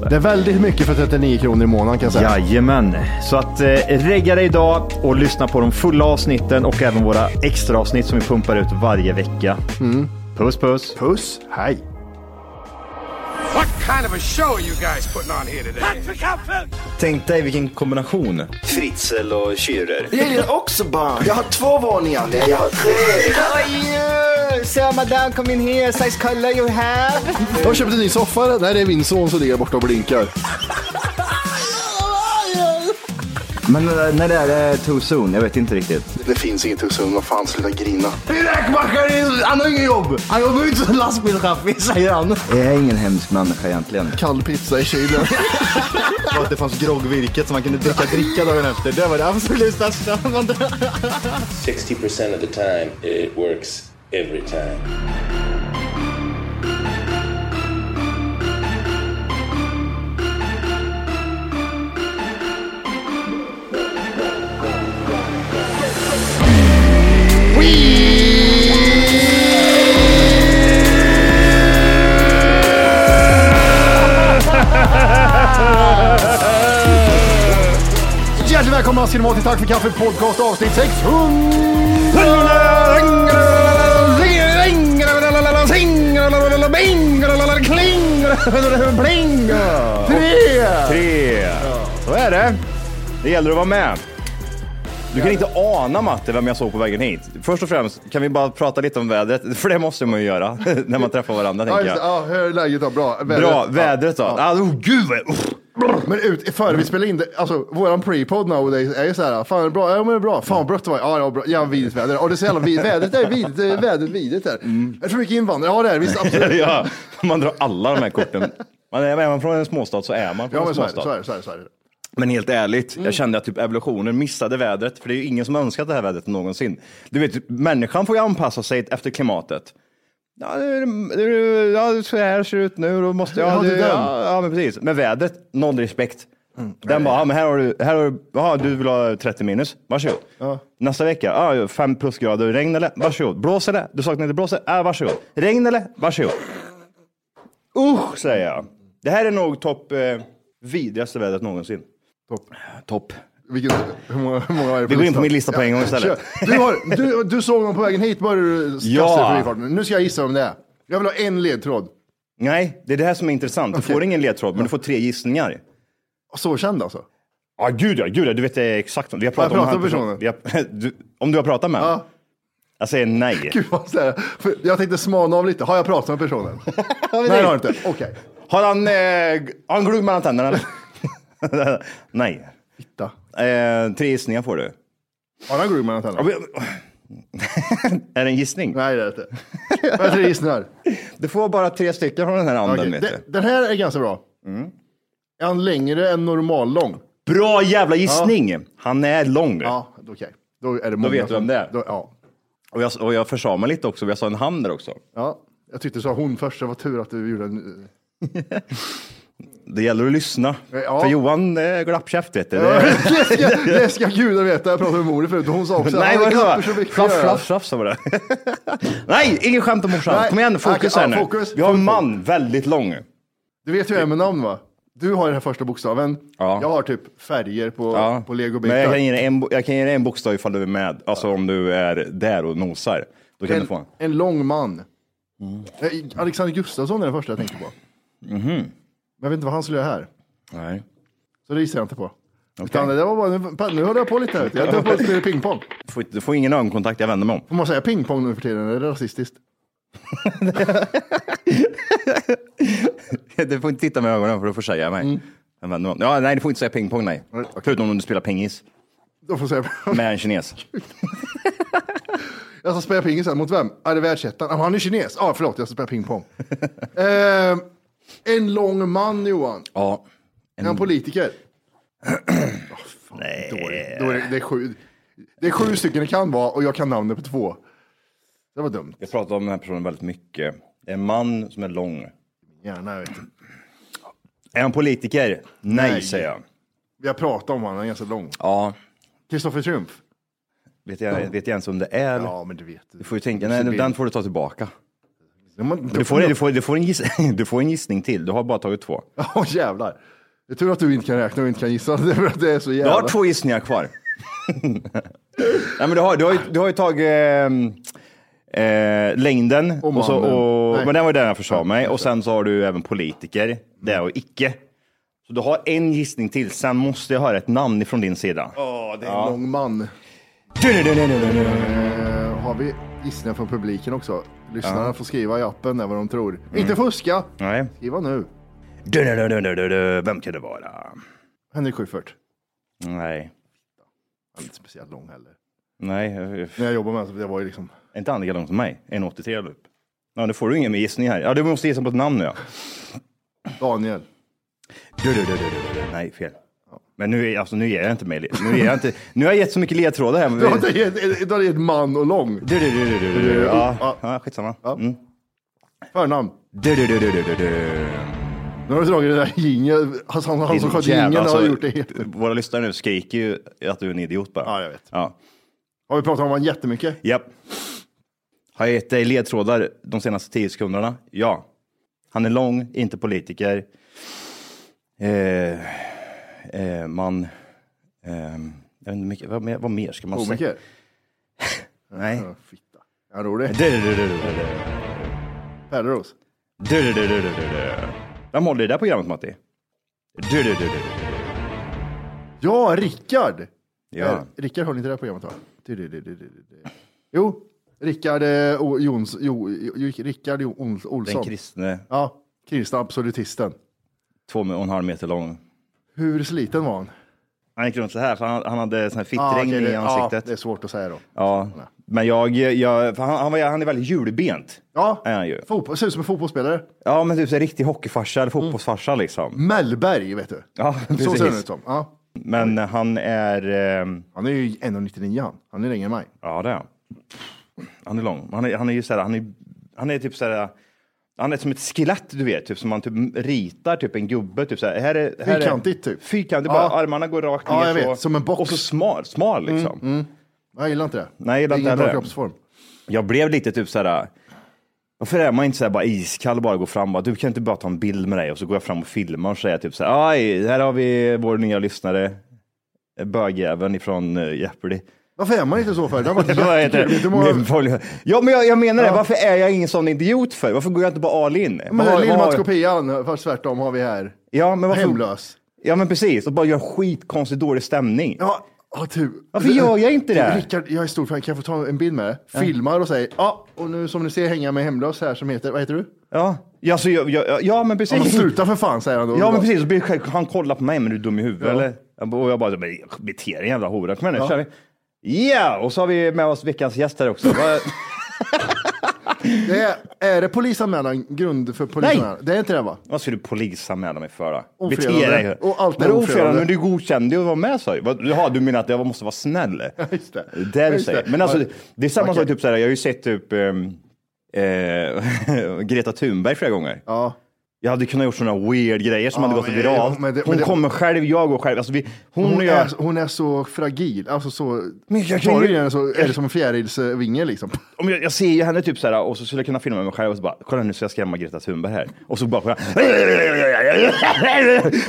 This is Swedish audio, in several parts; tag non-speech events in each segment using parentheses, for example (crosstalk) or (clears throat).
det. Det är väldigt mycket för 39 kronor i månaden kan jag säga. Jajamän, så att eh, regga dig idag och lyssna på de fulla avsnitten och även våra extra avsnitt som vi pumpar ut varje vecka. Puss Mm. puss! Puss, hej. What kind of a show are you guys putting on here today? Tänk dig vilken kombination. Fritzl och (laughs) Schürrer. Jag gillar också barn. Jag har två våningar. Nej, jag har tre. How are you? Sir, madame, come in here. Size color you have. Jag har köpt en ny soffa. Nej, det är min son som ligger borta och blinkar. Men eh, när det är det too soon? Jag vet inte riktigt. Det finns inget hos honom. Vad fan, sluta grina. Räkmackaren, han har inget jobb. Han jobbar inte som lastbilschaffis, säger han. Jag är ingen hemsk människa egentligen. Kall pizza i (laughs) kylen. Och att det fanns groggvirket som man kunde dricka dricka dagen efter. Det var det absolut största. 60% of the time, it works every time. Hjärtligt välkomna ska ni vara till Tack för kaffet podcast avsnitt 600. Tre! Tre. Så är det. Det gäller att vara med. Du kan inte ana Matte vem jag såg på vägen hit. Först och främst kan vi bara prata lite om vädret, (laughs) för det måste man ju göra (laughs) när man träffar varandra Ja, tänker just det. jag. Ja, hur är läget då? Bra. Vädret. Bra, Ja. vädret då. Ah, oh, (laughs) gud vad... uff. Men ut, före vi spelar in det, alltså våran pre-pod nowadays är ju så här, fan är det bra? Ja men det är bra, fan vad brött det var, ja, ja bra, ja vidrigt väder, och det är så jävla vidrigt, vädret är vidrigt, det är vädret vidrigt här. Är det för mycket invandrare? Ja det är det, visst absolut. Mm. (laughs) ja, man drar alla de här korten. Man är, är man från en småstad så är man Ja från en men så är det, småstad. så är det, så är det. Så är det. Men helt ärligt, jag kände att typ evolutionen missade vädret, för det är ju ingen som önskat det här vädret någonsin. Du vet, människan får ju anpassa sig efter klimatet. Ja, det, är- det, är- ja så här ser det ut nu, då måste jag... Ja, det är den. ja, ja, men precis. Men vädret, noll respekt. Den bara, ja, men här har du, här har du, aha, du vill ha 30 minus, varsågod. Nästa vecka, ja, 5 plusgrader, regn eller? Varsågod. Blåser det? Du saknar inte blåser? Ja, varsågod. Regn eller? Varsågod. Usch, säger jag. Det här är nog topp eh, vidrigaste vädret någonsin. Topp. Topp. Vilket, hur många, hur många är det Vi går in på min lista på en gång istället. Kör. Du, har, du, du såg någon på vägen hit, började du kasta Ja. dig förbifarten. Nu ska jag gissa om det är. Jag vill ha en ledtråd. Nej, det är det här som är intressant. Du Okej. får ingen ledtråd, men du får tre gissningar. Så känd alltså? Ja, gud ja, gud ja, du vet det exakt. Vi har pratat Jag om den här pratar personen. med Vi har- (laughs) du, om du har pratat med honom? Ja. Jag säger nej. Gud vad så här, för jag tänkte smana av lite, har jag pratat med (laughs) personen? Nej det har jag inte, okej. Har han, eh, har han glugg mellan tänderna? (laughs) eller? nej. Titta. Eh, tre gissningar får du. Har han grugg mellan tänderna? (laughs) är det en gissning? Nej det är det inte. Jag har tre gissningar. Du får bara tre stycken från den här anden. Okej, vet de, du. den här är ganska bra. Mm. Är han längre än normal lång? Bra jävla gissning! Han är lång. Ja, okej. Då är det Då många vet du vem som- det är. Då, ja. Och jag, och jag försade mig lite också, jag sa en hamn där också. Ja, jag tyckte du sa hon först, det var tur att du gjorde en... Det gäller att lyssna. Ja. För Johan är glappkäft vet du. Det- det, ska, det ska gudarna veta, jag pratade med mor förut och hon sa också Nej, "Ja, var det knappt (laughs) så? så mycket Flaff, att göra." flaff, flaff, så var det. (laughs) Nej, ingen skämt om morsan. Nej. Kom igen, fokus Okej, här ja, nu. fokus, Vi har en fokus. man, väldigt lång. Du vet hur jag är med namn va? Du har den här första bokstaven. Ja. Jag har typ färger på, Ja. på legobitar. Men jag kan, ge dig en, bo- jag kan ge dig en bokstav ifall du är med. Alltså om du är där och nosar. Då kan du en, få en. en lång man. Eh, Alexander Gustafsson är den första jag tänker på. Mhm. Men jag vet inte vad han skulle göra här. Nej. Så det gissar jag inte på. Utan det var bara, nu, nu höll jag på lite här. vet du. Jag höll (laughs) på att spela pingpong. Du får, inte- du får ingen ögonkontakt, jag vänder mig om. (laughs) Får man säga pingpong nu för tiden? Är det rasistiskt? Du får inte titta med ögonen för då försäger jag mig. Mm. Jag vänder mig om. Ja, nej, du får inte säga pingpong, nej. Förutom om du spelar pingis Då får jag säga. med (laughs) en kines. Jag ska spela pingis sen. Mot vem? Ja, det är världsettan. Ah, han är kines. Ja, ah, förlåt. Jag ska spela (laughs) pingpong. eh, en lång man, Johan. Ja. Är han (clears throat) politiker? Åh, fan, dålig. Då är det, det, är sju, det är sju stycken det kan vara och jag kan namnet på två. Det var dumt. Jag pratar om den här personen väldigt mycket. Det är en man som är lång. Gärna, vet du. Är han politiker? Nej, Nej. säger jag. Vi har pratat om honom, han är ganska lång. Ja. Kristoffer Triumf? Vet jag, vet jag ens om det är? eller? men du vet. Du får ju tänka, nej, den får du ta tillbaka. Du Du får, (laughs) du, får, du, får en giss, (laughs) du får en gissning till, du har bara tagit två. Åh jävlar. Det är tur att du inte kan räkna och inte kan gissa. (laughs) Det är för att det är så Du jävla... har två gissningar (laughs) kvar. nej, men du, har, du, har ju, du har ju tagit ehm, eh, längden, Och och så, mannen. och, Nej. men den var ju den jag försade mig. Och sen så har du även politiker, det är och icke. Så du har en gissning till, sen måste jag höra ett namn ifrån din sida. Åh, det är en lång man. Eh, har vi gissningar från publiken också? Lyssnarna får skriva i appen där vad de tror. Inte fuska! Nej. Skriva nu. Vem kan det vara? Henrik Schyffert. Nej. Han är inte speciellt lång heller. Nej, När jag jobbade med honom, det var ju liksom... Är inte han lika lång som mig? 1,83 eller upp? Ja, nu får du ingen med gissning här. Ja, du måste gissa på ett namn nu ja. Daniel. Du, du, du, du, du, du. Nej, fel. Men nu, är- alltså, nu ger jag inte mig. Nu, ger jag inte, nu har jag gett så mycket ledtrådar här. Men (laughs) Du har inte gett- du har gett man och lång. du, du, du, du, du, du, du. Ja, ja, skitsamma. Mm. Förnamn. Du, du, du, du, du, du, du. Nu har du dragit den där jingeln. Alltså, han, han som sköt Jävlar, jingeln har alltså, gjort det helt... Våra lyssnare nu skriker ju att du är en idiot bara. Ja, jag vet. Ja. Har vi pratat om honom jättemycket? Japp. Har jag gett dig ledtrådar de senaste tio sekunderna? Ja. Han är lång, inte politiker. Eh, eh, man... ehm, jag vet inte mycket, vad, mer, vad mer ska man säga? Komiker? Nej. Ja, Fitta. Är han rolig? Du, du, du, du, du, du. Pärleros? Du, du, du, du, du, du, du. Vem håller i det där programmet, Matti? Du, du, du, du, du. Ja, Rickard! Ja. Eh, Rickard höll inte det här programmet va? Du, du, du, du, du, du. Jo, Rickard eh, O- Jons, jo, jo, Rickard Jo- Ols- Den Olsson. kristne, Ja, kristna absolutisten. två och en halv meter lång. Hur sliten var han? Han gick runt så här, för han, han hade sån här fittregn Ah, okej, det- i Ja, ansiktet. det är svårt att säga då. Ja, men jag, jag för han, han, var, han är väldigt julbent. Ja, Är han ju. fotboll, ser ut som en fotbollsspelare. Ja, men typ så här riktig hockeyfarsa eller Mm. fotbollsfarsa liksom. Mellberg, vet du. Ja, Så ser han ut precis. som. Ja. Men han är, eh, Han är ju 1,99 han. Han är längre än mig. ja det är han. Han är lång. Han är, han är ju så här, han är, han är typ så här, han är som ett skelett du vet, typ som man typ ritar typ en gubbe. Typ så här. Här är, här är, Fyrkantigt, typ. Fyrkantigt, Ja. bara armarna går rakt Ja, ner. jag så, vet, som en box. Mm, Och så smal, smal liksom. Jag gillar inte det. Nej, jag gillar det är inte ingen bra heller. kroppsform. Jag blev lite typ så här, varför är man inte så här bara iskall och bara går fram och bara, du kan inte bara ta en bild med dig och så går jag fram och filmar och säger typ så här, aj, här har vi vår nya lyssnare, bögjäveln ifrån eh, Jeopardy. Varför är man inte så för? Det har (laughs) varit Vad heter jättekul. det? Vet du hur många- Min folio- Ja, men jag, jag menar det. Varför är jag ingen sån idiot för? Varför går jag inte bara all in? Vad Men har- vad har- Lill-Mats kopian, fast tvärtom har vi här. Ja, men varför? Hemlös. Ja, men precis. Och bara gör skitkonstig, dålig stämning. Ja, ja typ. Varför gör jag inte det? Rickard, jag är stor fan. Kan jag få ta en bild med det? Filmar och säger, ja, och nu som ni ser hänger jag med hemlös här som heter, vad heter du? Ja, ja, så jag, jag, ja men Ja, men precis. sluta för fan, säger han då. Ja, men precis. Så blir det själv- Han kollar på mig, men du är dum i huvudet eller? Jag bara- Och jag bara, men bete dig jävla hora. Kom igen nu, kör vi. Ja, och så har vi med oss veckans gäst här också. Vad- Det är, är det polisanmälan grund för polisanmälan? Det är inte det va? (laughs) Vad ska du polisanmäla mig för då? Bete Ofredande. dig. Och allt är ofredande? Vadå ofredande? Men du godkände ju att vara med sa jag. Vad- Jaha, du menar att jag måste (laughs) vara snäll? just det. är det du Just säger. det. Men alltså, Ja. det- det är samma Okej. sak, typ så här, jag har ju sett typ ehm, eh, (laughs) Greta Thunberg flera gånger. Ja. Jag hade kunnat gjort sådana weird grejer som Ja, hade gått men- viralt. men det- men hon det- kommer själv, jag går själv. Alltså, vi, hon, Hon, och jag, är, hon är så fragil, alltså så... Men jag kan Tar ju- du i den så är det som en fjärilsvinge liksom. om jag, jag ser ju henne typ så här och så skulle jag kunna filma mig själv och så bara, kolla nu ska jag skrämma Greta Thunberg här. Och så bara,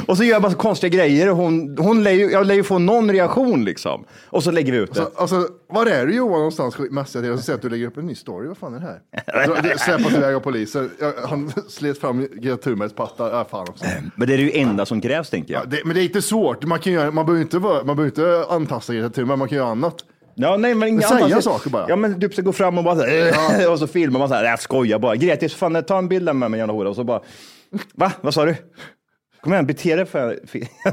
och så gör jag (laughs) bara så konstiga grejer och hon, hon lär ju, jag lär ju få någon reaktion liksom. Och så lägger vi ut det. Så, alltså, var är du Johan någonstans skitmässigt? Jag ser att du lägger upp en ny story, vad fan är det här? (laughs) Dra- det Släpas iväg av polisen, Jag- han (laughs) slet fram Greta Thunbergs pattar, ah, fan också. Men det är det ju enda som krävs tänker jag. Ja, det, men det är inte svårt, man, kan göra, man, behöver, inte, vara- man behöver inte antasta Greta Thunberg, man kan göra annat. Ja, nej, men inga Säga andra- saker bara. Ja, men typ så gå fram och bara så här, (laughs) och så filmar man så här, jag skojar bara. Greta, så fan ta en bild där med mig jävla hora och så bara, va, vad sa du? Kom igen, bete dig för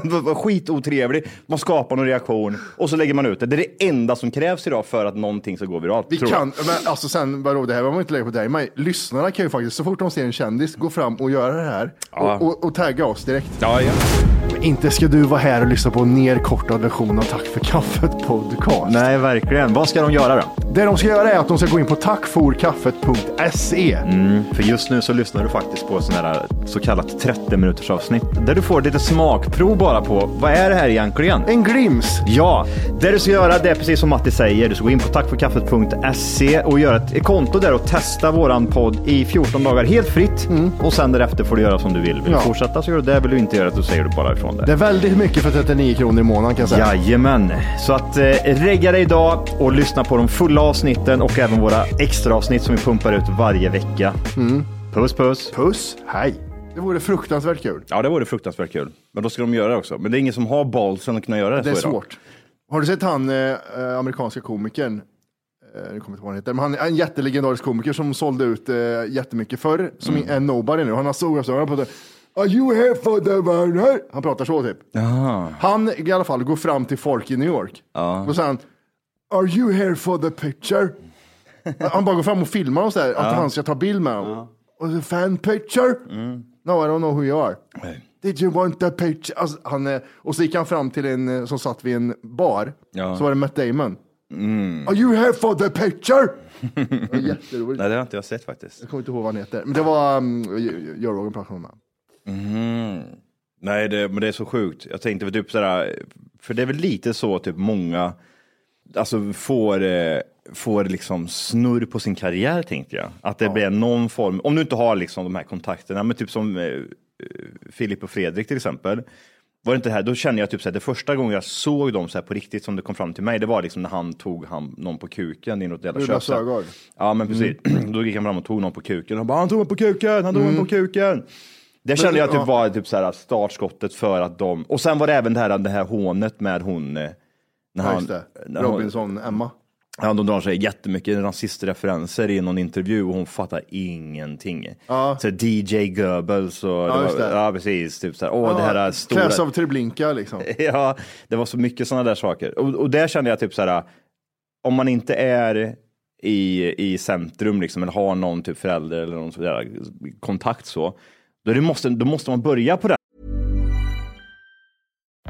vad- vad skitotrevlig. Man skapar någon reaktion och så lägger man ut det. Det är det enda som krävs idag för att någonting ska gå viralt. Vi tror jag. kan, men alltså sen, vadå, det här behöver man inte lägga på dig men Lyssnarna kan ju faktiskt, så fort de ser en kändis, gå fram och göra det här. Ja. Och, och, och tagga oss direkt. Ja, ja. Inte ska du vara här och lyssna på en nerkortad version av Tack för kaffet podcast. Nej, verkligen. Vad ska de göra då? Det de ska göra är att de ska gå in på tackforkaffet.se. För just nu så lyssnar du faktiskt på sån här så kallat 30 minuters avsnitt där du får lite smakprov bara på vad är det här egentligen? En glims. Ja, det du ska göra det är precis som Matti säger. Du ska gå in på tackforkaffet.se och göra ett konto där och testa våran podd i 14 dagar helt fritt. Och sen därefter får du göra som du vill. Vill Mm. Ja. du fortsätta så gör du det. Vill du inte göra det så säger du bara ifrån det. Det är väldigt mycket för 39 kronor i månaden kan jag säga. Jajamän, så att eh, regga dig idag och lyssna på de fulla avsnitten och även våra extra avsnitt som vi pumpar ut varje vecka. Puss puss! Mm. Puss, hej. Det vore fruktansvärt kul. Ja, det vore fruktansvärt kul. Men då ska de göra det också. Men det är ingen som har balsen att kunna göra det. Det är svårt. Har du sett han eh, eh, amerikanska komikern? Eh, nu kommer jag inte ihåg vad han heter. Men han är en jättelegendarisk komiker som sålde ut eh, jättemycket förr. Som är nobody nu. Han har solglasögon på sig. Are you here for the burner? Han pratar så typ. Han i alla fall går fram till folk i New York. Ja. Då säger han. Are you here for the picture? han bara går fram och filmar dem så här. Att han ska ta bild med dem. Och the fan picture? No, I don't know who you are. Did you want the picture? Alltså, han, eh, och så gick han fram till en eh, som satt vid en bar. Ja. Mm. Så var det Matt Damon. Are you here for the picture? (laughs) Det var Jätteroligt. Nej, det har inte jag sett faktiskt. Jag kommer inte ihåg vad han heter. Men det var um, Joe Rogan pratade om honom. Nej, det, men det är så sjukt. Jag tänkte väl typ sådär, för det är väl lite så typ många, alltså får, eh, får liksom snurr på sin karriär tänkte jag. Att det blir någon form, om du inte har liksom de här kontakterna, men typ som eh, eh, Filip och Fredrik till exempel. Var det inte det här, då kände jag typ såhär, det första gången jag såg dem såhär på riktigt som det kom fram till mig, det var liksom när han tog han, någon på kuken i något jävla Rudolf köpcentrum. Sögaard. Ja men precis, (clears throat) då gick han fram och tog någon på kuken och bara, han tog mig på kuken, han tog mig på kuken. Det kände jag typ ja. var typ så här startskottet för att de, och sen var det även det här, det här hånet med hon, eh, Ja, när han, just det. när hon, Robinson, Emma. ja, de drar sig jättemycket rasistreferenser i någon intervju och hon fattar ingenting. Så DJ Goebbels och, det just det. ja precis, typ så här, åh det här är stora, Kläs av Treblinka liksom. (laughs) ja, det var så mycket sådana där saker. Och, och där kände jag typ så här, om man inte är i, i centrum liksom, eller har någon typ förälder eller någon sån där kontakt så, då, är det måste, då måste man börja på den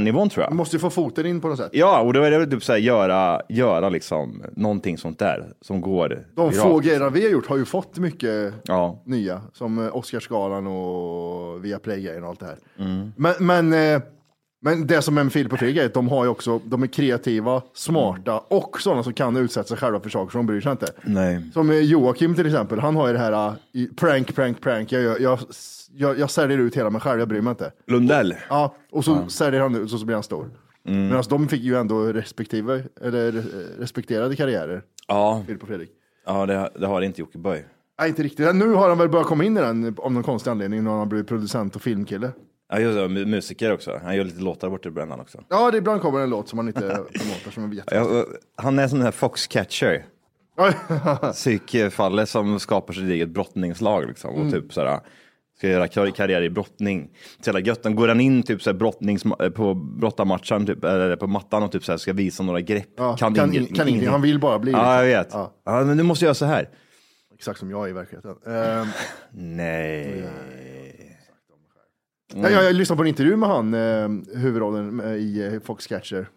nivån tror jag. Måste ju få foten in på något sätt. Ja, och då är det väl typ så här, göra, göra liksom någonting sånt där som går. De viralt. få grejerna vi har gjort har ju fått mycket Ja. nya, som eh, Oscarsgalan och Viaplay-grejen och allt det här. Men, men, eh, men det som är med Filip och Fredrik är att de har ju också, de är kreativa, smarta och sådana som kan utsätta sig själva för saker som de bryr sig inte. Nej. Som eh, Joakim till exempel, han har ju det här eh, i- prank, prank, prank. Jag, jag, jag, jag, jag säljer ut hela mig själv, jag bryr mig inte. Lundell. Ja, och så säljer han ut och så blir han stor. Mm. Medan de fick ju ändå respektive, eller eh, respekterade karriärer, Ja, Filip och Fredrik. ja det, det har inte Jocke Böj. Nej, inte riktigt. Nu har han väl börjat komma in i den av någon konstig anledning när han har blivit producent och filmkille. Ja, just det, mu- musiker också. Han gör lite låtar borta i brännan också. Ja, det ibland kommer en låt som (laughs) man inte promotar som är jätte... Ja, och han är sån här foxcatcher. Psykfalle som skapar sitt eget brottningslag liksom. Mm. Och typ så här, ska göra kar- karriär i brottning. Så jävla gött. Då Går han in typ så här brottnings, på brottarmatchen, typ, eller på mattan och typ så här, ska visa några grepp. Ja, kan, kan, inget- kan ingenting. Han vill bara bli. Ja, jag vet. liksom. Ja, Ja. men du måste göra så här. exakt som jag i verkligheten. Ehm, Nej. Mm. jag, jag, jag lyssnade på en intervju med han, ehm, huvudrollen eh, i eh, Foxcatcher.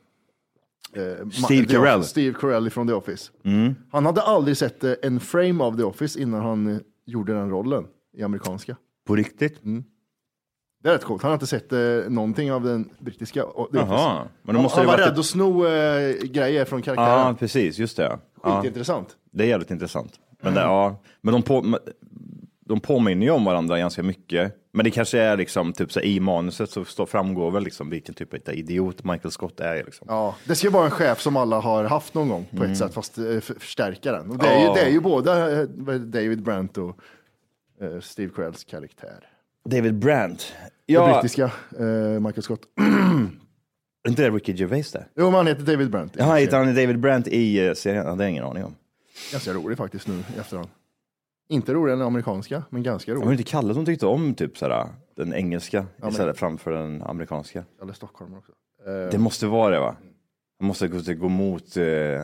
Eh, Ma- Steve The Carell. Mm. Office. Steve Carell från The Office. Han hade aldrig sett eh, en frame av The Office innan han eh, gjorde den rollen i amerikanska. På riktigt? Mm. Det är rätt coolt. Han har inte sett eh, någonting av den brittiska. och det är Jaha. precis- Men då måste han det var varit rädd ett- att sno eh, grejer från Ja, karaktären. precis. Just det. Ja, Skitintressant. det är jävligt intressant. Mm. Men, det, ja. men de, på, de påminner ju om varandra ganska mycket. Men det kanske är liksom, typ så här, i manuset så står- framgår väl liksom vilken typ av idiot Michael Scott är. Liksom. Ja, det ska ju vara en chef som alla har haft någon gång på ett sätt, fast eh, f- förstärka den. Och det, är ju, Mm. Ja. det är ju både eh, vad heter David Brent och eh, Steve Carells karaktär. David Brandt. Den Ja, brittiska eh, Michael Scott. är inte det Ricky Gervais det? Jo, men han heter David Brent. Ja, heter han David Brandt i eh, serien? Ja, det har jag ingen aning om. Ganska rolig faktiskt nu i efterhand. Inte roligare än den amerikanska, men ganska Det var rolig. inte Kalle som tyckte om typ såhär, den engelska istället framför den amerikanska. Eller Stockholm också. Eh, Det måste vara det va? Man måste gå- gå mot, eh,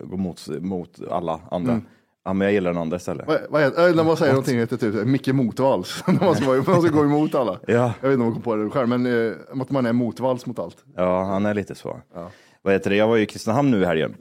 gå mot, mot alla andra. Ja, men jag gillar den andra istället. Vad, vad heter, eh, när man säger någonting heter typ så här, Micke Motvalls. (laughs) när man ska, vara- man ska gå emot alla. Ja. Jag vet inte om man kom på det själv, men eh, att man är motvalls mot allt. Ja, han är lite så. Vad heter det? Jag var ju i Kristinehamn nu i helgen.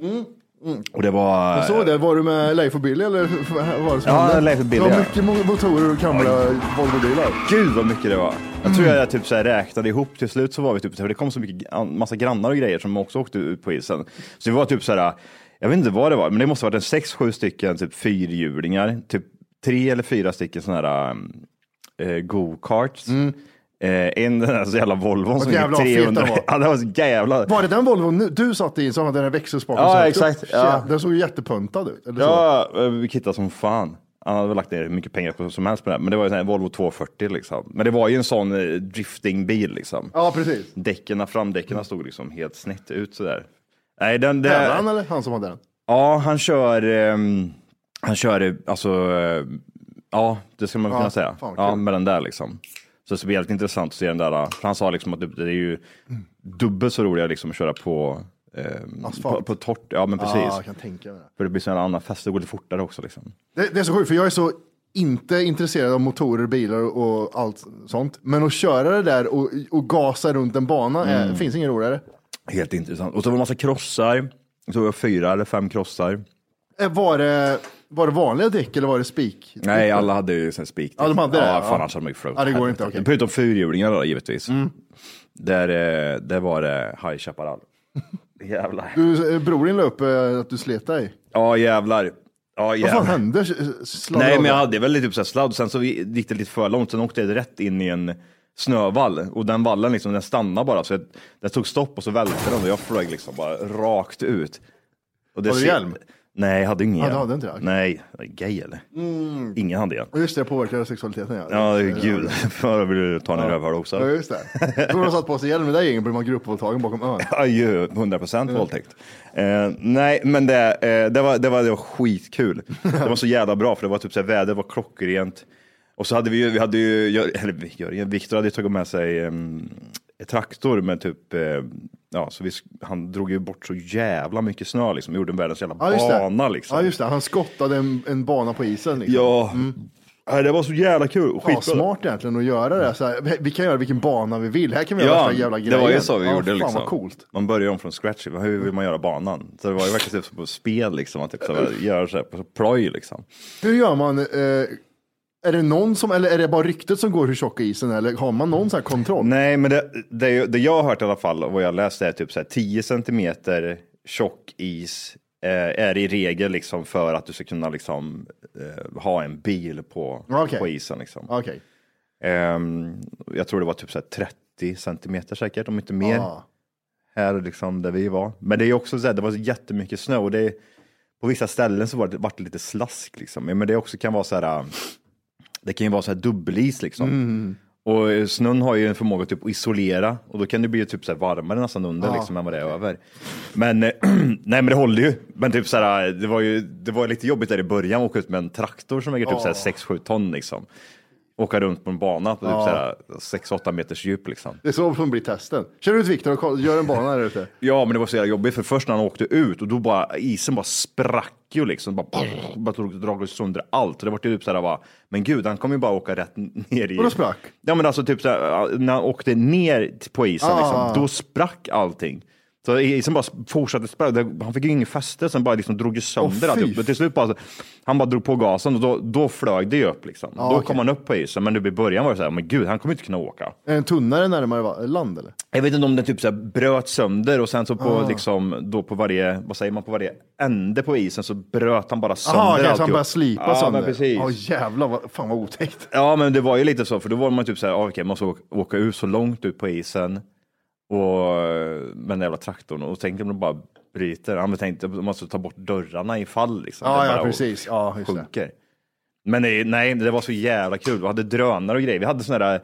Och det var... Jag såg det, var du med Leif och Billy eller vad var det som Ja, hände? Leif och Billy, Det var ja. mycket mo- motorer och gamla Volvobilar. Gud vad mycket det var. Jag Mm. tror jag typ så här räknade ihop till slut så var vi typ, för det kom så mycket, massa grannar och grejer som också åkte ut på isen. Så vi var typ så här, jag vet inte vad det var, men det måste ha varit en sex, sju stycken typ fyrhjulingar, typ tre eller fyra stycken sådana här um, eh, go-karts. Eh, en den här så jävla Volvon som Mm. jävla gick fet 300. den var. (laughs) Ja, det var så jävla... Var det den Volvon nu- du satt i som hade den här växelspaken? Ja, som åkte exakt, upp? ja. Shit, Den såg ju jättepuntad ut. Eller så. Ja, eh, vi kittade som fan. Han hade väl lagt ner hur mycket pengar på- som helst på det här, men det var ju sån här Volvo 240 liksom. Men det var ju en sån eh, driftingbil liksom. ja, precis. Däckerna, framdäckerna stod liksom helt snett ut sådär. Nej, den, det, Tävlade han eller han som hade den? Ja, han kör, ehm, han kör, eh, alltså, eh, ja, det ska man kunna säga. fan vad ja, kul. med den där liksom. Så det ska bli jävligt intressant att se den där. eh, För han sa liksom att det, det är ju dubbelt så roligt liksom att köra på, ehm, Asfalt. Ah, på, på torrt. Ja, men precis. Ja, jag kan tänka mig det. För det blir så jävla annan fest, det går lite fortare också liksom. Det, det är så sjukt, för jag är så inte intresserad av motorer, bilar och allt sånt. Men att köra det där och, och gasa runt en bana är, Mm. finns ingen roligare. Helt intressant. Och så var det massa krossar. Så var det fyra eller fem krossar. Eh, Var det, var det vanliga däck eller var det spik? Nej, alla hade ju sen spik. typ. Ja, de hade det, Ja, ja. fan annars hade de ju float. Ja, det går inte, okej. Mm. Förutom fyrhjulingar då, givetvis. Där, eh, där var det High Chaparral. jävlar. Du, eh, bror din la upp eh, att du slet dig. Ja, jävlar. Vad Ja, fan jävlar. hände? S- sladdade Nej, men jag av? hade väl lite typ så här sladd. Sen så gick det lite för långt. Sen åkte jag rätt in i en snövall och den vallen liksom, den stannade bara. Så jag, den tog stopp och så välte den och jag flög liksom bara rakt ut. Och det Har du ser- hjälm? Nej, jag hade ingen Ja, du hjälm. hade inte det? Mm. Nej, gay eller? Ingen hade hjälm. Och Just det, jag påverkade sexualiteten. Ja, Ja, gud. (laughs) För vill du ta en rövhål också. Eh, Ja, just det. Då har de satt på sig hjälm med dig gänget blev man gruppvåldtagen bakom ön. Ja, ju 100 procent Mm. våldtäkt. Eh, nej, men det, eh, det, var, det, var, det var skitkul. (laughs) Det var så jävla bra, för det var typ så här, vädret var klockrent. Och så hade vi ju, vi hade ju, Gör- eller vi- Jörgen, Viktor hade ju tagit med sig um, traktor med typ, eh, ja, så vi, sk- han drog ju bort så jävla mycket snö liksom, gjorde en världens jävla Ja, just det. bana liksom. Ja, just det. Han skottade en, en bana på isen. Liksom. Ja, Nej, det var så jävla kul. Skitbra. Ja, smart egentligen att göra det. Så här, vi kan göra vilken bana vi vill. Här kan vi göra Ja, värsta jävla grejen. det var ju så vi ja, gjorde. fan, liksom. vad coolt. Man börjar om från scratch. Hur vill man göra banan? Så det var ju verkligen typ som på spel, liksom. Att typ, så här, göra så här, på ploj, liksom. Hur gör man? Eh, är det någon som, eller är det bara ryktet som går hur tjock isen är? Eller har man någon sån här kontroll? Nej, men det, det, är ju- det jag har hört i alla fall och vad jag läst är typ så här 10 centimeter tjock is eh, är i regel liksom för att du ska kunna liksom eh, ha en bil på, Okej. på isen. Liksom. Okej. Ehm, jag tror det var typ så här 30 centimeter säkert, om inte mer. Ah. Här liksom där vi var. Men det är ju också så här, det var jättemycket snö och det är, på vissa ställen så var det, vart det lite slask liksom. Men det också kan vara så här, äh, det kan ju vara så här dubbelis liksom. Mm. Och eh, snön har ju en förmåga typ att isolera och då kan det bli typ så här varmare nästan under Ja. liksom än vad det är över. Men eh, (clears throat) nej, men det håller ju. Men typ så här, det var ju det var lite jobbigt där i början att åka ut med en traktor som väger typ så här 6-7 ton liksom. Åka runt på en bana på Ja. typ så här 6-8 meters djup liksom. Det är så som blir testen. Kör ut Viktor och kolla, gör en bana (laughs) där ute. Ja, men det var så jävla jobbigt för först när han åkte ut och då bara isen bara sprack ju liksom. Bara, brr, bara tog, drog sönder allt. Och det var typ så här bara, men gud, han kommer ju bara åka rätt ner i. Och då sprack? Ja, men alltså typ så här, när han åkte ner på isen, Ah. liksom, då sprack allting. Så isen bara fortsatte spracka. Han fick ju ingen fäste, sen bara liksom drog ju sönder Åh, allt. fy. Och Till slut bara, han bara drog på gasen och då, då flög det ju upp liksom. Ja, då Ah, okej. kom han upp på isen, men nu i början var det så här, men gud, han kommer inte kunna åka. Är den tunnare närmare va- land eller? Jag vet inte om den typ så här bröt sönder och sen så på, Ah. liksom, då på varje, vad säger man, på varje ände på isen så bröt han bara sönder Jaha, kanske han alltihop. börjar slipa ja, sönder. Men precis. Ja, jävlar, vad, fan vad otäckt. Ja, men det var ju lite så, för då var man typ så här, ah, okej, man måste åka, åka ut så långt ut på isen och eh, med den jävla traktorn och tänk om de bara bryter. Han tänkte, man måste ta bort dörrarna i fall liksom. Ja, Det Ah, ja, bara precis. Ja, just det. Sjunker. Men nej, nej, det var så jävla kul. Vi hade drönare och grejer. Vi hade sådana där,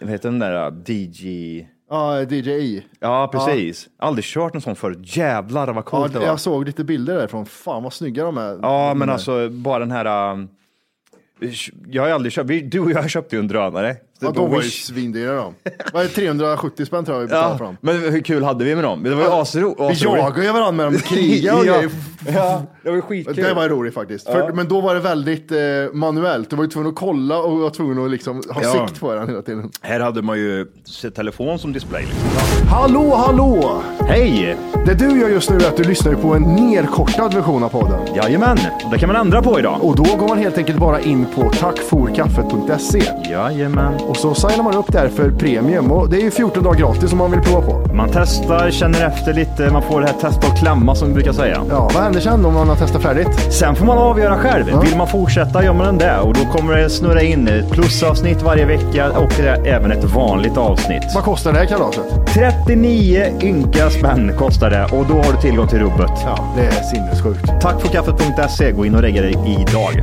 vad heter den där, äh, DJ... Ja, DJI. Ja, precis. Aldrig kört en sån förut. Jävlar vad Ja, coolt det var. jag såg lite bilder därifrån. Fan vad snygga de är. Ja, De men där. alltså bara den här... um, Jag har ju aldrig köpt, vi- du och jag köpte ju en drönare. Ja, På de var ju Wish. svindyra de. Vad är det, 370 spänn tror jag vi betalade för ja, dem. men hur kul hade vi med dem? Det var ju asroligt. Vi jagade ju varandra med dem, krigade och (laughs) ja, grejer. ja, det var ju skitkul. Det var roligt faktiskt. För, men då var det väldigt eh, manuellt. Du var ju tvungen att kolla och var tvungen att liksom, ha Ja. sikt på den hela tiden. Här hade man ju sin telefon som display. Liksom. Hallå, hallå! Hej! Det du gör just nu är att du lyssnar på en nedkortad version av podden. Jajamän, det kan man ändra på idag. Och då går man helt enkelt bara in på tackforkaffet.se. Jajamän. Och så signar man upp där för premium. Och det är ju 14 dagar gratis om man vill prova på. Man testar, känner efter lite, man får det här testa och klämma som vi brukar säga. Ja, vad händer sen om man har testat färdigt? Sen får man avgöra själv. Vill man fortsätta gör man det och då kommer det snurra in ett plusavsnitt varje vecka och det är även ett vanligt avsnitt. Vad kostar det här kalaset? 39 ynka spänn kostar det och då har du tillgång till rubbet. Ja, det är sinnessjukt. Tack för kaffet.se. E. Gå in och lägg dig idag.